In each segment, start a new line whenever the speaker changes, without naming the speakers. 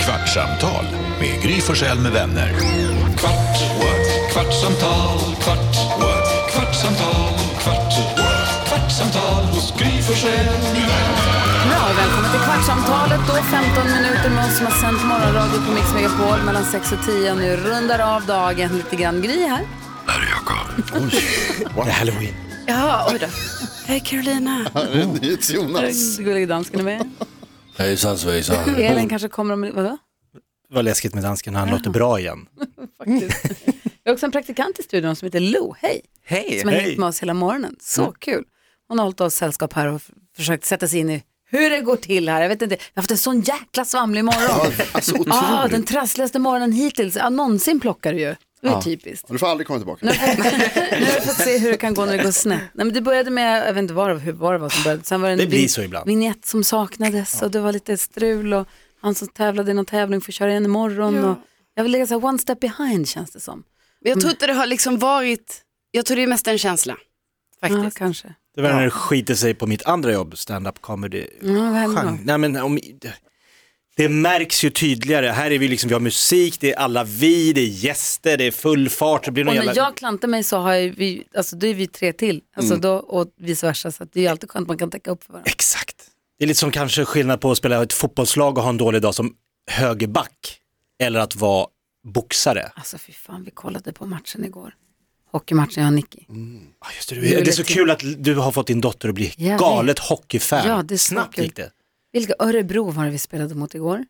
Kvartsamtal med Gry Forssell med vänner. Kvart, what? kvartsamtal, kvart, what? kvartsamtal, kvart, what? kvartsamtal hos Gry Forssell med vänner.
Ja, välkommen till Kvartsamtalet då, 15 minuter med oss som har sänt morgonradio på Mix Megapol mellan 6 och 10 och nu rundar av dagen lite grann. Gry här.
Det är halloween.
Ja, oj då. Hej Carolina.
Jonas.
Gullig dansken är med.
Hejsan svejsan.
Elin kanske kommer om... Vadå?
Det var läskigt med dansken, han låter bra igen.
Faktiskt. Vi har också en praktikant i studion som heter Lo. Hej. Hej. Mm. Som har hängt med oss hela morgonen. Så kul. Hon har hållit oss sällskap här och f- försökt sätta sig in i hur det går till här. Jag vet inte. Vi har haft en sån jäkla svamlig morgon.
Alltså
Mm.
ah, den
otroligt.
trassligaste morgonen hittills. Ja, någonsin plockar du ju. Det är typiskt.
Du får aldrig komma tillbaka.
Nu har vi fått se hur det kan gå när det går snett. Nej, men det började med, jag vet inte vad det var, hur- vad det var som började. Sen var det en
Det blir
vin-
så ibland.
vignett som saknades och det var lite strul och han som tävlade i någon tävling får köra igen imorgon. Och jag vill lägga så här one step behind känns det som.
Men
Mm.
jag tror inte det har liksom varit, jag tror det är mest en känsla.
Ja, Mm.
Faktiskt.
kanske.
Det var när det skiter sig på mitt andra jobb, stand-up comedy.
Ja, vad hände då?
Genre. Nej, men om, det märks ju tydligare, här är vi liksom, vi har musik, det är alla vi, det är gäster, det är full fart. Det blir någon
Och när
jävla...
jag klantar mig så har jag, ju- vi, alltså, då är vi tre till. Alltså,
Mm.
då, och vice versa. Så att det är ju alltid skönt man kan täcka upp för varandra.
Exakt. Det är lite som kanske skillnad på att spela ett fotbollslag och ha en dålig dag som högerback, eller att vara boxare.
Alltså fy fan, vi kollade på matchen igår. Hockeymatchen jag och Nicky.
Ah, just det, du, det är så kul att du har fått din dotter att bli
Jag vet.
galet hockeyfan.
Ja, det är så
Snabbt
kul.
gick det.
Vilka Örebro var det vi spelade mot igår?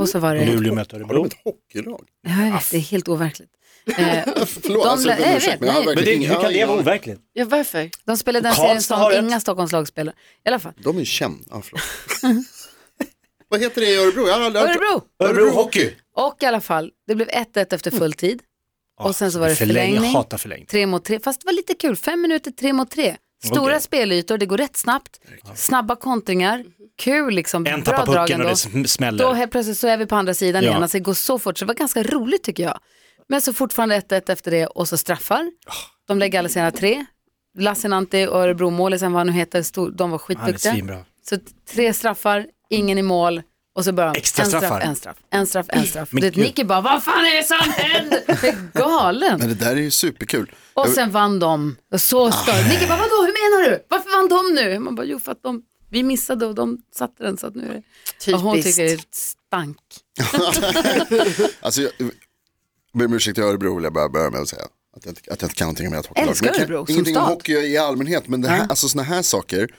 Och så var det...
Luleå möter
Har de
Örebro.
ett hockeylag?
Ja, jag vet, det är helt overkligt. Eh,
Förlåt,
De
alltså,
lä-
jag
nej,
ber om ursäkt,
vet,
men jag har
nej.
Men
verkligen
det, hur
ingen
kan det vara
aning.
overkligt?
Ja, varför?
de spelar den
Karlstad
serien
har
som
ett.
inga Stockholmslag spelar. I alla fall.
De är kända, ja, förlåt. Vad heter det i Örebro? Jag har aldrig hört-
Örebro!
Örebro hockey.
Och i alla fall, det blev 1-1 efter
Mm.
fulltid. Och sen så var det förlängning. Typ
Jag hatar förlängning.
Tre mot tre, fast det var lite kul. Fem minuter, tre mot tre. Stora
Okej.
spelytor, det går rätt snabbt. Snabba kontringar, kul liksom.
En
Bra
tappar
drag
pucken och
ändå.
det sm-
Då
smäller.
helt plötsligt så är vi på andra sidan
Ja.
igen. Alltså det går så fort, så det var ganska roligt tycker jag. Men så fortfarande 1-1 efter det och så straffar. De lägger alla sina tre. Lassinantti och Örebromålisen, vad han nu heter, stod, de var
Han är
skitduktiga.
svinbra.
Så tre straffar, ingen i mål och så bara en
Extra
straff,
straffar.
en straff, en straff, en straff.
Men
Det
gud.
Nicky bara, vad fan är det som händer? Det är
Men
galen.
det där är ju superkul.
Och sen vann de. Och
Ah,
så stör. Nicky bara, vadå, hur menar du? Varför vann de nu? Man bara, jo för att de, vi missade och de satte den så att nu är det. Och hon
Typiskt.
tycker det stank.
Alltså, jag jag ber om ursäkt till Örebro vill jag bara börja med att säga. Att jag, inte- att jag inte kan någonting om ert hockeylag.
Älskar
Men jag kan-
Örebro som
Ingenting om
stad. Mm.
hockey i allmänhet, men det här, alltså sådana här saker,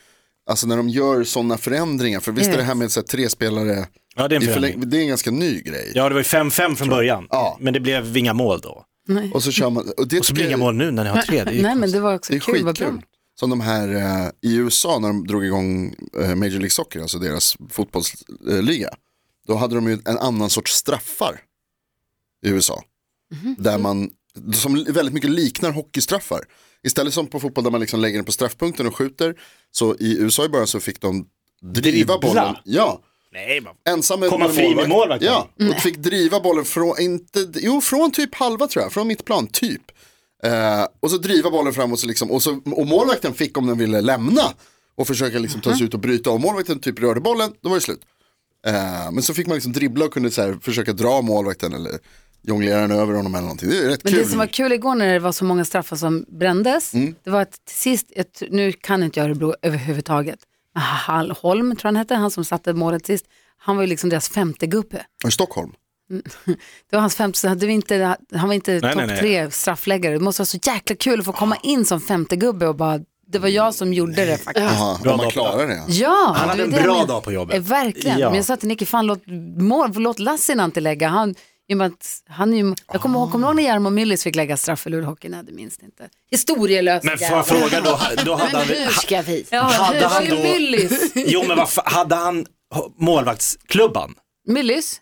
alltså när de gör sådana förändringar, för visst är det här med så här, tre spelare,
Ja, det är en
i
förlängning.
förläng- det är en ganska ny grej.
Ja, det var ju 5-5 från början.
Ja.
Men det blev inga mål då.
Och så kör man, och det
Och så
tycker
blir
jag-
inga mål nu när ni har tre. Det är ju
Nej men det var också
Det är
kul, vad bra.
skitkul. Som de här eh, i USA när de drog igång eh, Major League Soccer, alltså deras fotbollsliga. Då hade de ju en annan sorts straffar i USA.
Mhm.
Där man, som väldigt mycket liknar hockeystraffar. Istället som på fotboll där man liksom lägger den på straffpunkten och skjuter. Så i USA i början så fick de driva
Dribbla.
bollen. Ja,
Nej, man.
ensam med
Komma
med
fri med målvakten.
Ja,
Mm.
och fick driva bollen från, inte, jo, från typ halva tror jag, från mittplan, typ. Eh, och så driva bollen framåt så liksom, och, så, och målvakten fick om den ville lämna och försöka liksom
Mm-hmm.
ta sig ut och bryta. Om målvakten typ rörde bollen, då var det slut. Eh, men så fick man liksom dribbla och kunde så här, försöka dra målvakten eller jonglera den över honom eller någonting. Det är rätt
Men
kul.
det som var kul igår när det var så många straffar som brändes,
Mm.
det var att till sist, jag tr- nu kan inte jag Örebro överhuvudtaget, men Hall- Holm tror jag han hette, han som satte målet sist, han var ju liksom deras femte gubbe.
I Stockholm.
Det var hans femte, så hade vi inte, han var inte
nej,
topp
nej.
tre straffläggare. Det måste vara så jäkla kul att få komma in som femte gubbe och bara, det var jag som gjorde det faktiskt.
Aha,
Bra
om man
dag.
klarar det.
Ja,
Han
det
hade
är
en
det jag
bra
menar.
dag på
Eh,
jobbet.
Verkligen,
Ja.
men jag sa till Nicky, fan låt, mål, låt Lassinantti lägga. Han, i och med att han är ju, jag kommer ihåg, kommer du ihåg när Jarmo Myllys fick lägga straff för Luleåhockeyn? Nej, det minns ni inte. Historielös
Men får
jävel.
jag fråga då, då hade han...
Men hur ska vi?
Ja,
hade
det var
han
ju
då-
Myllys.
Jo, men vad fan, hade han målvaktsklubban?
Myllys?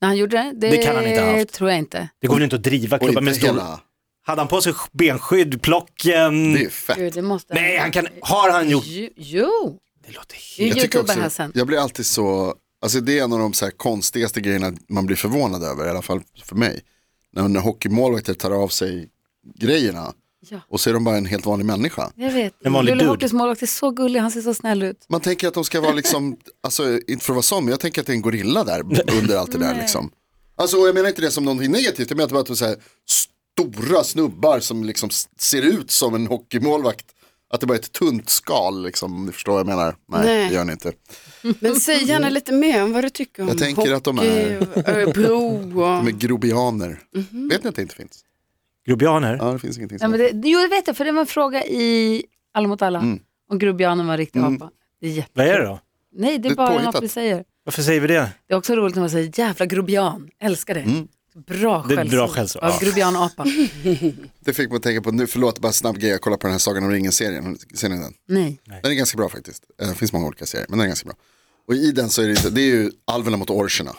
När han gjorde det?
Det kan han inte ha haft.
tror jag inte.
Det går väl inte att driva
Och
klubban
inte
med stol?
hela,
Hade han på sig benskydd, plocken?
det är fett.
Gud, det måste
Nej, han kan... Har han gjort...
Jo, jo.
Det låter helt...
vi
Jag, tycker
youtubar här
också,
sen.
jag blir alltid så, alltså det är en av de så här konstigaste grejerna man blir förvånad över, i alla fall för mig. När, när hockeymålvakter tar av sig grejerna
Ja.
Och så är de bara en helt vanlig människa.
Jag vet.
En vanlig
Luleå
dude.
Hockeys målvakt är så gullig, han ser så snäll ut.
Man tänker att de ska vara liksom, alltså inte för att vara sån, men jag tänker att det är en gorilla där under allt det där liksom. Alltså och jag menar inte det som någonting negativt, jag menar bara att det är så här stora snubbar som liksom s- ser ut som en hockeymålvakt. Att det bara är ett tunt skal liksom, om ni förstår vad jag menar. Nej,
Nej.
det gör ni inte.
Men säg gärna lite mer om vad du tycker om
Jag tänker att de är-
hockey och Örebro och...
De är grobianer. Vet ni att det inte finns?
Grobianer?
Ja, det finns ingenting
Mhm. Ja,
som
men det, jo, jag vet det, för det var en fråga i Alla mot alla.
Mm.
Om grobianen var en riktig apa. Det är jätte...
Vad är det då?
Nej, det är
Det är
bara något
påhittat.
vi säger.
Varför säger vi det?
Det är också roligt när man säger jävla grobian, älskar det.
Mm.
Bra
Det är
skällsord.
bra skällsord,
Ja,
ja.
grobianapa.
Det fick mig att tänka på, nu förlåt bara snabb grej, jag kollar på den här Sagan om ringen-serien, ser ni den?
Nej.
Den är ganska bra faktiskt, Eh, det finns många olika serier, men den är ganska bra. Och i den så är det, inte- det är ju alverna mot orcherna.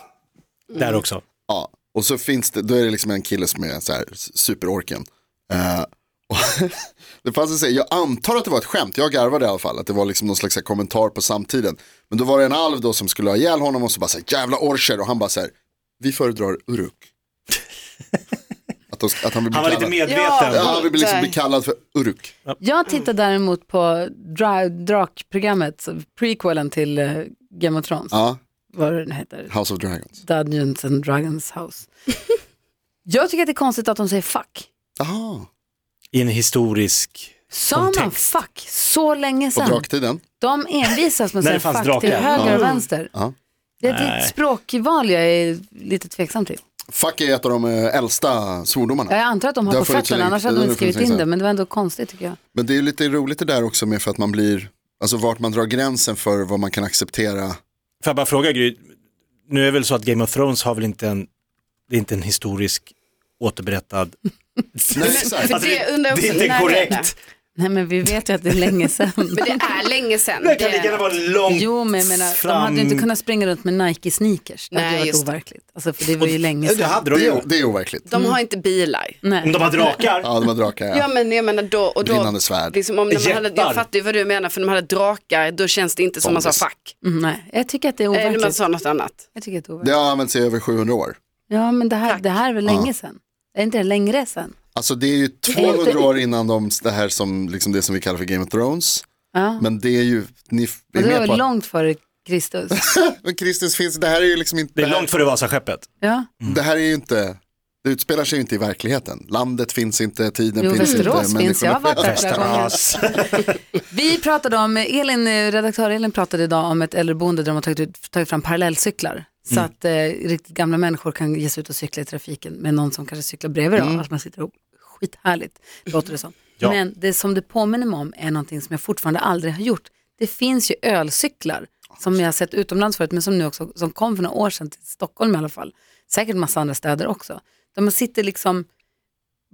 Mm.
Där också.
Ja, och så finns det, då är det liksom en kille som är så här superorken. Eh, och det fanns en serie, jag antar att det var ett skämt, jag garvade i alla fall, att det var liksom någon slags så här kommentar på samtiden. Men då var det en alv då som skulle ha ihjäl honom och så bara så här, jävla orcher, och han bara så här, vi föredrar uruk. att, de, att han vill bli
Han var
kallad.
lite medveten.
Ja, han vill liksom
Där.
bli kallad för uruk.
Jag tittar däremot på Dra- Drakprogrammet, så prequelen till eh, Game of Thrones,
Ja,
vad den heter,
House of Dragons.
Dungeons and Dragons House. Jag tycker att det är konstigt att de säger fuck.
Jaha,
I en historisk...
Sa man
Kontext.
fuck så länge
på
sedan?
draktiden.
De envisas med att
När
säga
det fanns
fuck
drakar.
till höger och
Ja.
vänster.
Ja.
Det är ett
Nej.
språkval jag är lite tveksam till.
Fuck är ett av de eh, äldsta svordomarna.
Jag antar att de har
Det
på
har funnits
fötterna,
länge.
annars hade de
Det
inte
har funnits
skrivit in
länge
det,
sedan.
men det var ändå konstigt tycker jag.
Men det är lite roligt det där också med för att man blir, alltså vart man drar gränsen för vad man kan acceptera.
Får jag bara fråga Gry, nu är det väl så att Game of Thrones har väl inte en, det är inte en historisk återberättad...
Nej,
för
exakt.
Alltså,
det undrar jag
det är
också,
inte
när är
korrekt.
det?
Nej men vi vet ju att det är länge sedan.
Men det är länge sedan.
Det kan lika gärna vara långt
Jo men jag menar, de hade ju inte kunnat springa runt med Nike-sneakers. Det hade
Nej,
ju varit
just det.
overkligt. Alltså för det var ju länge
Det
sedan.
hade de
Det
ju.
är, det är overkligt.
De har
Mm.
inte bilar.
Om
Nej.
de har drakar.
Ja, de har drakar,
Ja
ja.
men jag menar då och då.
Brinnande svärd.
Liksom, om de hade,
Jättar.
jag fattar ju vad du menar för när de hade drakar då känns det inte som man sa fuck. Eh,
Mm, nej, jag tycker att det är
Eller man
overkligt.
sa något annat.
Jag tycker att det är
Det
overkligt.
har använts i över 700 år.
Ja men det här, det här är väl länge sedan. Är inte det längre sedan?
Alltså det är ju 200 år innan de, det här som, liksom det som vi kallar för Game of Thrones.
Ja.
Men det är ju, ni f-
Och
är
det var
med på
väl
att,
långt före Kristus.
men Kristus finns, det här är ju liksom inte,
Det är
här-
långt Mm. före Vasaskeppet.
Ja.
det här är ju inte, det utspelar sig ju inte i verkligheten. Landet finns inte, tiden
Jo,
finns inte.
Västerås finns. Jag har
människorna-
varit där flera gånger. Vi pratade om, Elin, eh, redaktör Elin pratade idag om ett äldreboende där de har tagit, ut, tagit fram parallellcyklar. Så att eh, riktigt gamla människor kan ge sig ut och cykla i trafiken med någon som kanske cyklar bredvid dem. Att man sitter ihop. Skithärligt, låter det som.
Ja.
Men det som det påminner mig om är någonting som jag fortfarande aldrig har gjort. Det finns ju ölcyklar som jag har sett utomlands förut men som nu också som kom för några år sedan till Stockholm i alla fall. Säkert massa andra städer också. Där man sitter liksom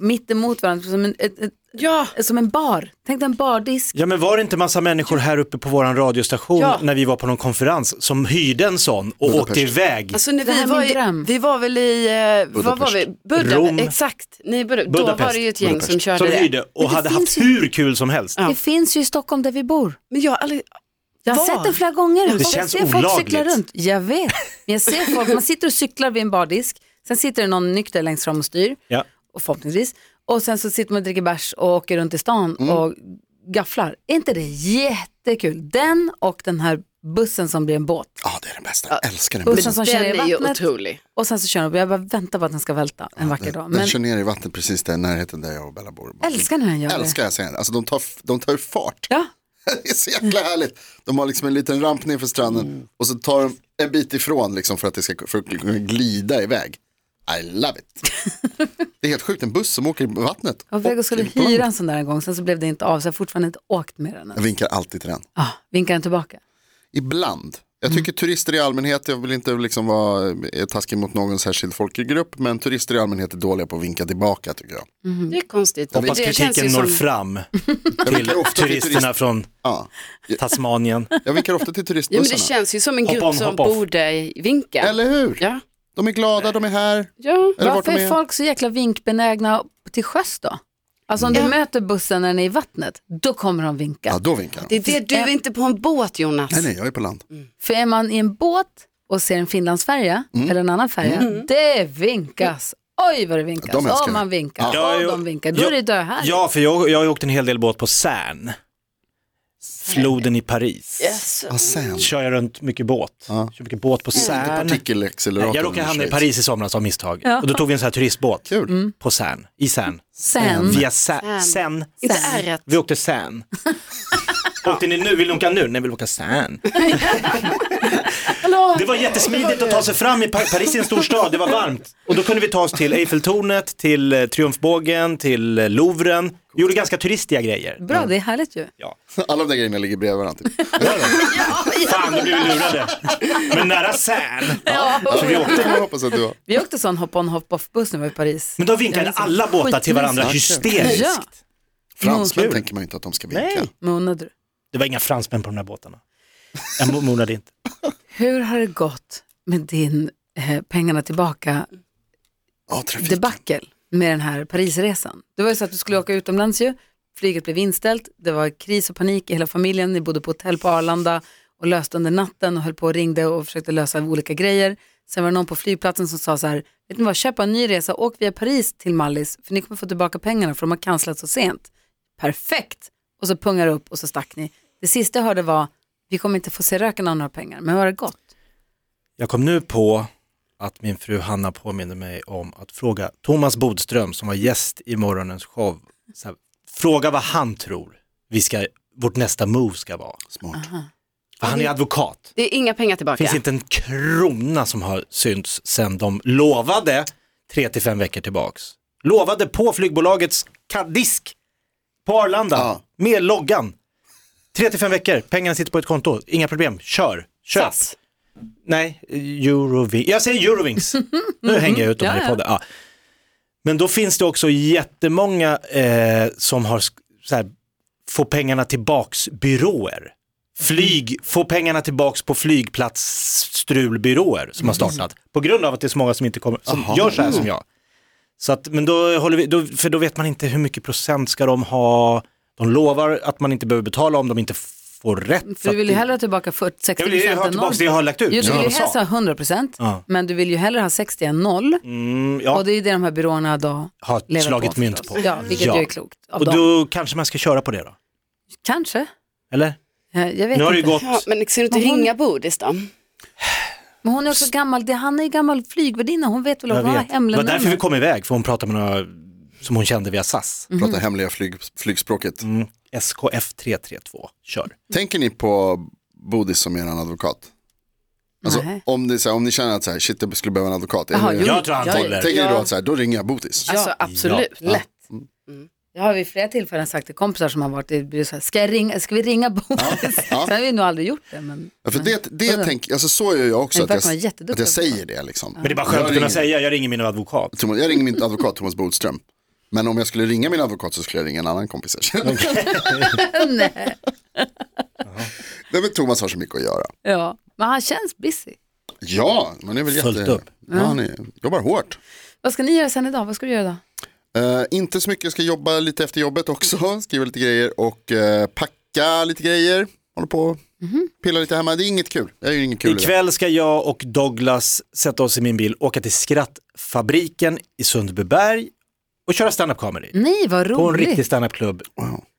mitt emot varandra som en, ett, ett,
Ja.
som en bar. Tänk dig en bardisk.
Ja men var det inte massa människor här uppe på våran radiostation
Ja.
när vi var på någon konferens som hyrde en sån och
Budapest.
åkte iväg?
Alltså när
Det här
vi
är
var,
min
i,
dröm.
vi var väl i, eh, vad var vi? Budapest,
Rom.
exakt. Ni, Budapest. Då
Budapest.
var det ju ett gäng som körde
som
det.
hyrde och
Men det
hade
finns
haft
ju-
hur kul som helst.
Ja.
Det finns ju i Stockholm där vi bor.
Men jag har aldrig,
Jag har
Var?
sett den flera gånger. Och
känns
jag ser folk cykla
olagligt.
runt. Jag vet. Men jag ser folk, man sitter och cyklar vid en bardisk. Sen sitter det någon nykter längst fram och styr.
Ja.
Och förhoppningsvis. Och sen så sitter man och dricker bärs och åker runt i stan och gafflar. Är inte det jättekul? Den och den här bussen som blir en båt.
Ja, det är den bästa, jag älskar den.
Bussen
bilden.
som kör ner
den
i
är ju
vattnet.
otrolig.
Och sen så kör den upp. Jag bara väntar på att den ska välta en vacker dag.
Den
Men
kör ner i vattnet precis där i närheten där jag och Bella bor.
älskar när den gör det.
Älskar jag scenen. Alltså de tar, de tar ju fart.
Ja,
Det är så jäkla härligt. De har liksom en liten ramp ner för stranden och så tar de en bit ifrån liksom för att det ska för att kunna glida iväg. I love it. det är helt sjukt, en buss som åker i vattnet.
jag var på väg och skulle
Och-
hyra en sån där en gång. Sen så blev det inte av. Så jag har fortfarande inte åkt med den.
Jag
än.
vinkar alltid till den.
Ah, vinkar den tillbaka.
Ibland. Jag tycker turister i allmänhet, jag vill inte liksom vara eh, taskig mot någon särskild folkgrupp, men turister i allmänhet är dåliga på att vinka tillbaka tycker jag.
Mm.
Det är konstigt.
Hoppas
det känns ju
kritiken når
som,
fram
Jag
till
vinkar ofta till, turist,
turisterna från
ja,
Tasmanien.
jag vinkar ofta till
ja, men
turistbussarna.
det känns ju som en
Hoppa
grupp
on,
som
hoppa off.
borde vinka.
Eller hur?
Ja.
De är glada, de är här.
ja.
Eller vart
Varför
de
är
är.
folk så jäkla vinkbenägna till sjöss då? Alltså om du möter bussen när den är i vattnet, då kommer de vinka.
Ja, då vinkar de.
Det är det du är inte på en båt Jonas.
Nej, nej, jag är på land.
För
Mm.
är man i en båt och ser en Finlandsfärja eller en annan färja, det vinkas Oj vad det vinkas.
De älskar
Åh,
det.
man vinkar.
Ja,
Åh,
jo.
de vinkar. Då
Ja,
är det döhärligt.
Ja, för jag, jag har ju åkt en hel del båt på Seine. Floden i Paris.
Alltså,
Ah, sen.
Kör jag runt mycket båt. Kör mycket båt på Seine.
Partikelacceleratorn.
Jag råkade hamna i
shit.
Paris i somras av misstag.
Ja.
Och då tog vi en sån här turistbåt
Kul.
Mm.
på Seine. I Seine.
Sen.
Via Seine.
Seine.
Seine.
Inte
Sen.
ärret.
Vi åkte Seine. åkte ni nu? Vill ni åka nu? Nej, vi vill åka Seine.
Hallå.
Det var jättesmidigt att ta sig fram i Pa- Paris i en stor stad, det var varmt. Och då kunde vi ta oss till Eiffeltornet, till eh, Triumfbågen, till eh, Louvren. Vi gjorde ganska turistiga grejer.
Bra, det är härligt ju.
Ja.
Alla de där grejerna ligger bredvid varandra. Typ.
Fan, nu blev vi lurade. Men nära Seine. Så vi åkte.
Det kan man hoppas att du har.
Vi åkte sån hopp-on hopp-off-buss när vi var i Paris.
Men då vinkade alla båtar till varandra hysteriskt.
Ja,
Fransmän
Kul.
tänker man ju inte att de ska vinka.
Nej.
men undrade du.
Det var inga fransmän på de här båtarna. Jag mo- monade inte.
Hur har det gått med din eh, pengarna tillbaka
Ja, trafik.
debacle med den här Parisresan? Det var ju så att du skulle åka utomlands ju, flyget blev inställt, det var kris och panik i hela familjen, ni bodde på hotell på Arlanda och löste under natten och höll på och ringde och försökte lösa olika grejer. Sen var det någon på flygplatsen som sa så här, vet ni vad, köp en ny resa, åk via Paris till Mallis för ni kommer få tillbaka pengarna för de har cancelat så sent. Perfekt! Och så pungar det upp och så stack ni. Det sista jag hörde var, vi kommer inte få se röken av några pengar, men hur har det gått?
Jag kom nu på att min fru Hanna påminner mig om att fråga Thomas Bodström som var gäst i morgonens show. Så här, fråga vad han tror vi ska, vårt nästa move ska vara.
Smart.
För han är advokat.
Det är inga pengar tillbaka.
Det finns inte en krona som har synts sedan de lovade tre till fem veckor tillbaks. Lovade på flygbolagets ka- disk på Arlanda
Ja.
med loggan. Tre till fem veckor, pengarna sitter på ett konto, inga problem, kör, köp.
SAS.
Nej, Eurovings. Jag säger Eurovings. Nu hänger jag ut dem här i
Ja, ja.
podden. Ja. Men då finns det också jättemånga eh, som har sk- så här, få pengarna tillbaks byråer. Flyg, få pengarna tillbaks på flygplatsstrulbyråer som har startat. På grund av att det är så många som inte kommer, som
Aha.
gör så här som jag. Så att, men då håller vi, då, för då vet man inte hur mycket procent ska de ha. De lovar att man inte behöver betala om de inte får rätt. Så
För du
att
vill ju
det-
hellre ha tillbaka 40, 60
jag vill ju ha
än
tillbaka
noll.
det jag har lagt ut.
Jo, du
som
vill ju
de sa.
helst ha 100 procent,
Ja.
men du vill ju hellre ha 60 än noll.
Mm, ja.
Och det är ju det de här byråerna då
har
lever
slagit
på.
mynt
förstås.
på.
Ja, vilket
Ja.
ju är klokt av
Och
dem.
då kanske man ska köra på det då?
Kanske,
Eller?
Eh, jag vet
Nu har det ju
inte.
gått,
Ja, men ser du inte
Men hon-
ringa Bodis då?
Men hon är också gammal, det, han är ju gammal flygvärdinna, hon vet väl
jag
vad
vet. Det var
hemländer
därför vi kom iväg, för hon pratade med några som hon kände via SAS.
Mm.
Prata hemliga flyg, flygspråket.
Mm. SKF332, kör.
Tänker ni på Bodis som er advokat? Alltså,
Nej.
om, det, är så här, om ni känner att så här, shit, jag skulle behöva en advokat.
Jaha,
Eller-
jo,
Jag tror han
ja, ja.
håller.
Tänker ni då
Ja.
att så här, då ringer jag Bodis?
Ja.
Alltså absolut,
Ja.
lätt.
Jag har vid flera tillfällen sagt till kompisar som har varit i byrå, så här, ska, jag ringa, ska vi ringa Boris?
Ja.
Sen har vi nog aldrig gjort det. Men,
Ja, för det, det tänk, alltså, så gör jag också,
Men
att
verkar vara
jag,
jätteduktig
att jag
advokat.
säger det. Liksom.
Men det är bara skönt
Jag
att kunna
ringer-
säga, jag ringer min advokat.
Thomas, jag ringer min advokat Thomas Bodström. Men om jag skulle ringa min advokat så skulle jag ringa en annan kompis. jag känner.
nej.
Nej, men Thomas har så mycket att göra.
Ja. men han känns busy.
Ja, men det är väl
Fullt
jätte...
upp.
Ja, han är, jobbar hårt.
Vad ska ni göra sen idag? Vad ska du göra idag?
Eh, inte så mycket, jag ska jobba lite efter jobbet också, skriva lite grejer och eh, packa lite grejer. Håller på och pilla lite hemma, det är inget kul. Det är ju inget kul. i det.
Ikväll ska jag och Douglas sätta oss i min bil, åka till Skrattfabriken i Sundbyberg och köra stand-up comedy.
Nej, vad
På en
Mm, roligt.
riktig stand-up-klubb.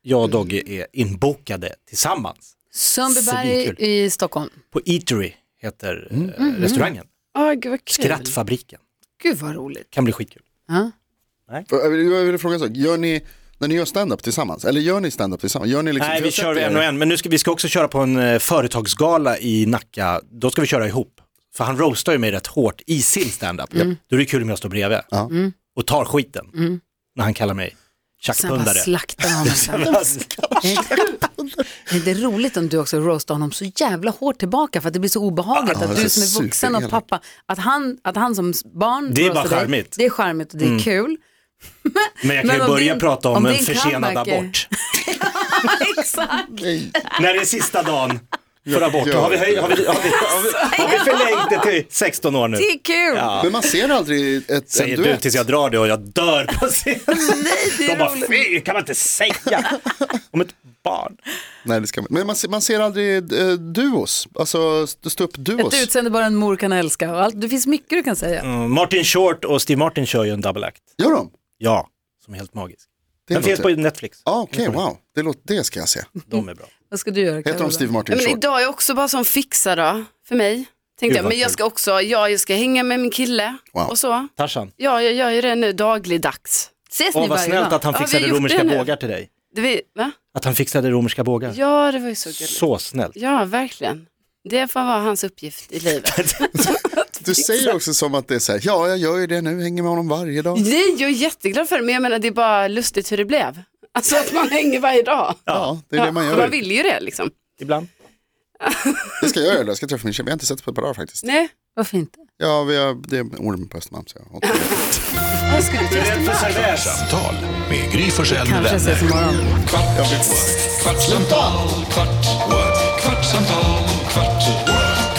Jag och Dogge är inbokade tillsammans.
Sundbyberg
Svinkul.
i Stockholm.
På Eatery heter eh,
Mm.
restaurangen.
Åh, gud vad kul.
Skrattfabriken.
Gud vad roligt.
Kan bli skitkul.
Ja.
För Jag vill, jag vill fråga en sak, gör ni, när ni gör stand-up tillsammans, eller gör ni stand-up tillsammans? Gör ni liksom,
Nej,
för
vi
jag
kör
har sett er-
en och en, men nu ska, vi ska också köra på en eh, företagsgala i Nacka. Då ska vi köra ihop. För han roastar ju mig rätt hårt i sin standup.
Mm.
Då är det kul om jag står bredvid
Ja.
och tar skiten när han kallar mig
Sen bara
tjackpundare.
slaktar han sen. Men Det är roligt om du också roastar honom så jävla hårt tillbaka för att det blir så obehagligt
Ja,
att
det
du
är
alltså,
som är vuxen och
superelakt.
pappa, att han, att han som barn
Det är bara
roastar dig,
charmigt. Mm.
Det är charmigt och det är kul.
Men jag kan
Men
ju
om
börja
din-
prata om,
om
en
din
försenad
comeback är-
abort.
Exakt.
Nej.
när det är sista dagen för abort.
gör
Har vi,
inte
höj,
det.
har, vi, har, vi, har, vi, har vi förlängt det till 16 år nu?
Det är kul.
Ja.
Men man ser aldrig ett, en
Säger du
duett.
tills jag drar det och jag dör på scenen.
Nej, det
De
är
bara,
roligt.
fy, kan man inte säga. Om ett barn.
Nej, det ska man. Men man ser, man ser aldrig eh, duos, alltså
Ett
ståuppduos.
utseende bara en mor kan älska och allt. Det finns mycket du kan säga.
Mm, Martin Short och Steve Martin kör ju en double act.
Gör de?
Ja, som är helt magisk.
Det
Den finns
låter-
på Netflix.
Ja, okej, wow. Det, låter, det ska jag se.
De är bra.
Vad ska du göra
Heter
Carola?
de Steve Martin
Men
Short?
idag är också bara som fixa då, för mig.
Gud,
Tänkte jag.
vad
Men jag
kul.
ska också, ja, jag ska hänga med min kille
Wow.
och så.
Tarzan.
Ja, jag gör ju det nu dagligdags.
Ses
Åh,
ni
vad
varje
snällt
dag?
att han
Ja, vi har
fixade
gjort
romerska
det nu.
bågar till dig.
Det vi, va?
Att han fixade romerska bågar.
Ja, det var ju så gulligt.
Så snällt.
Ja, verkligen. Det får vara hans uppgift i livet.
Du säger också som att det är så här, ja jag gör ju det nu, hänger med honom varje dag.
Nej, jag är jätteglad för det, men jag menar det är bara lustigt hur det blev. Alltså att man hänger varje dag.
Ja, det är det man
Ja, man
gör.
vill ju det liksom.
Ibland.
Det ska jag göra, jag ska träffa min tjej, vi har inte sett på ett par dagar faktiskt.
Nej,
Varför inte?
Ja, vi har, det är en orm på Östermalm. Så jag åt-
jag skulle till Östermalm.
Kvartsamtal med Gry Forssell med
Kanske ses
vänner.
imorgon.
Kvart, what? kvartsamtal, kvart, what? kvartsamtal, kvart, what?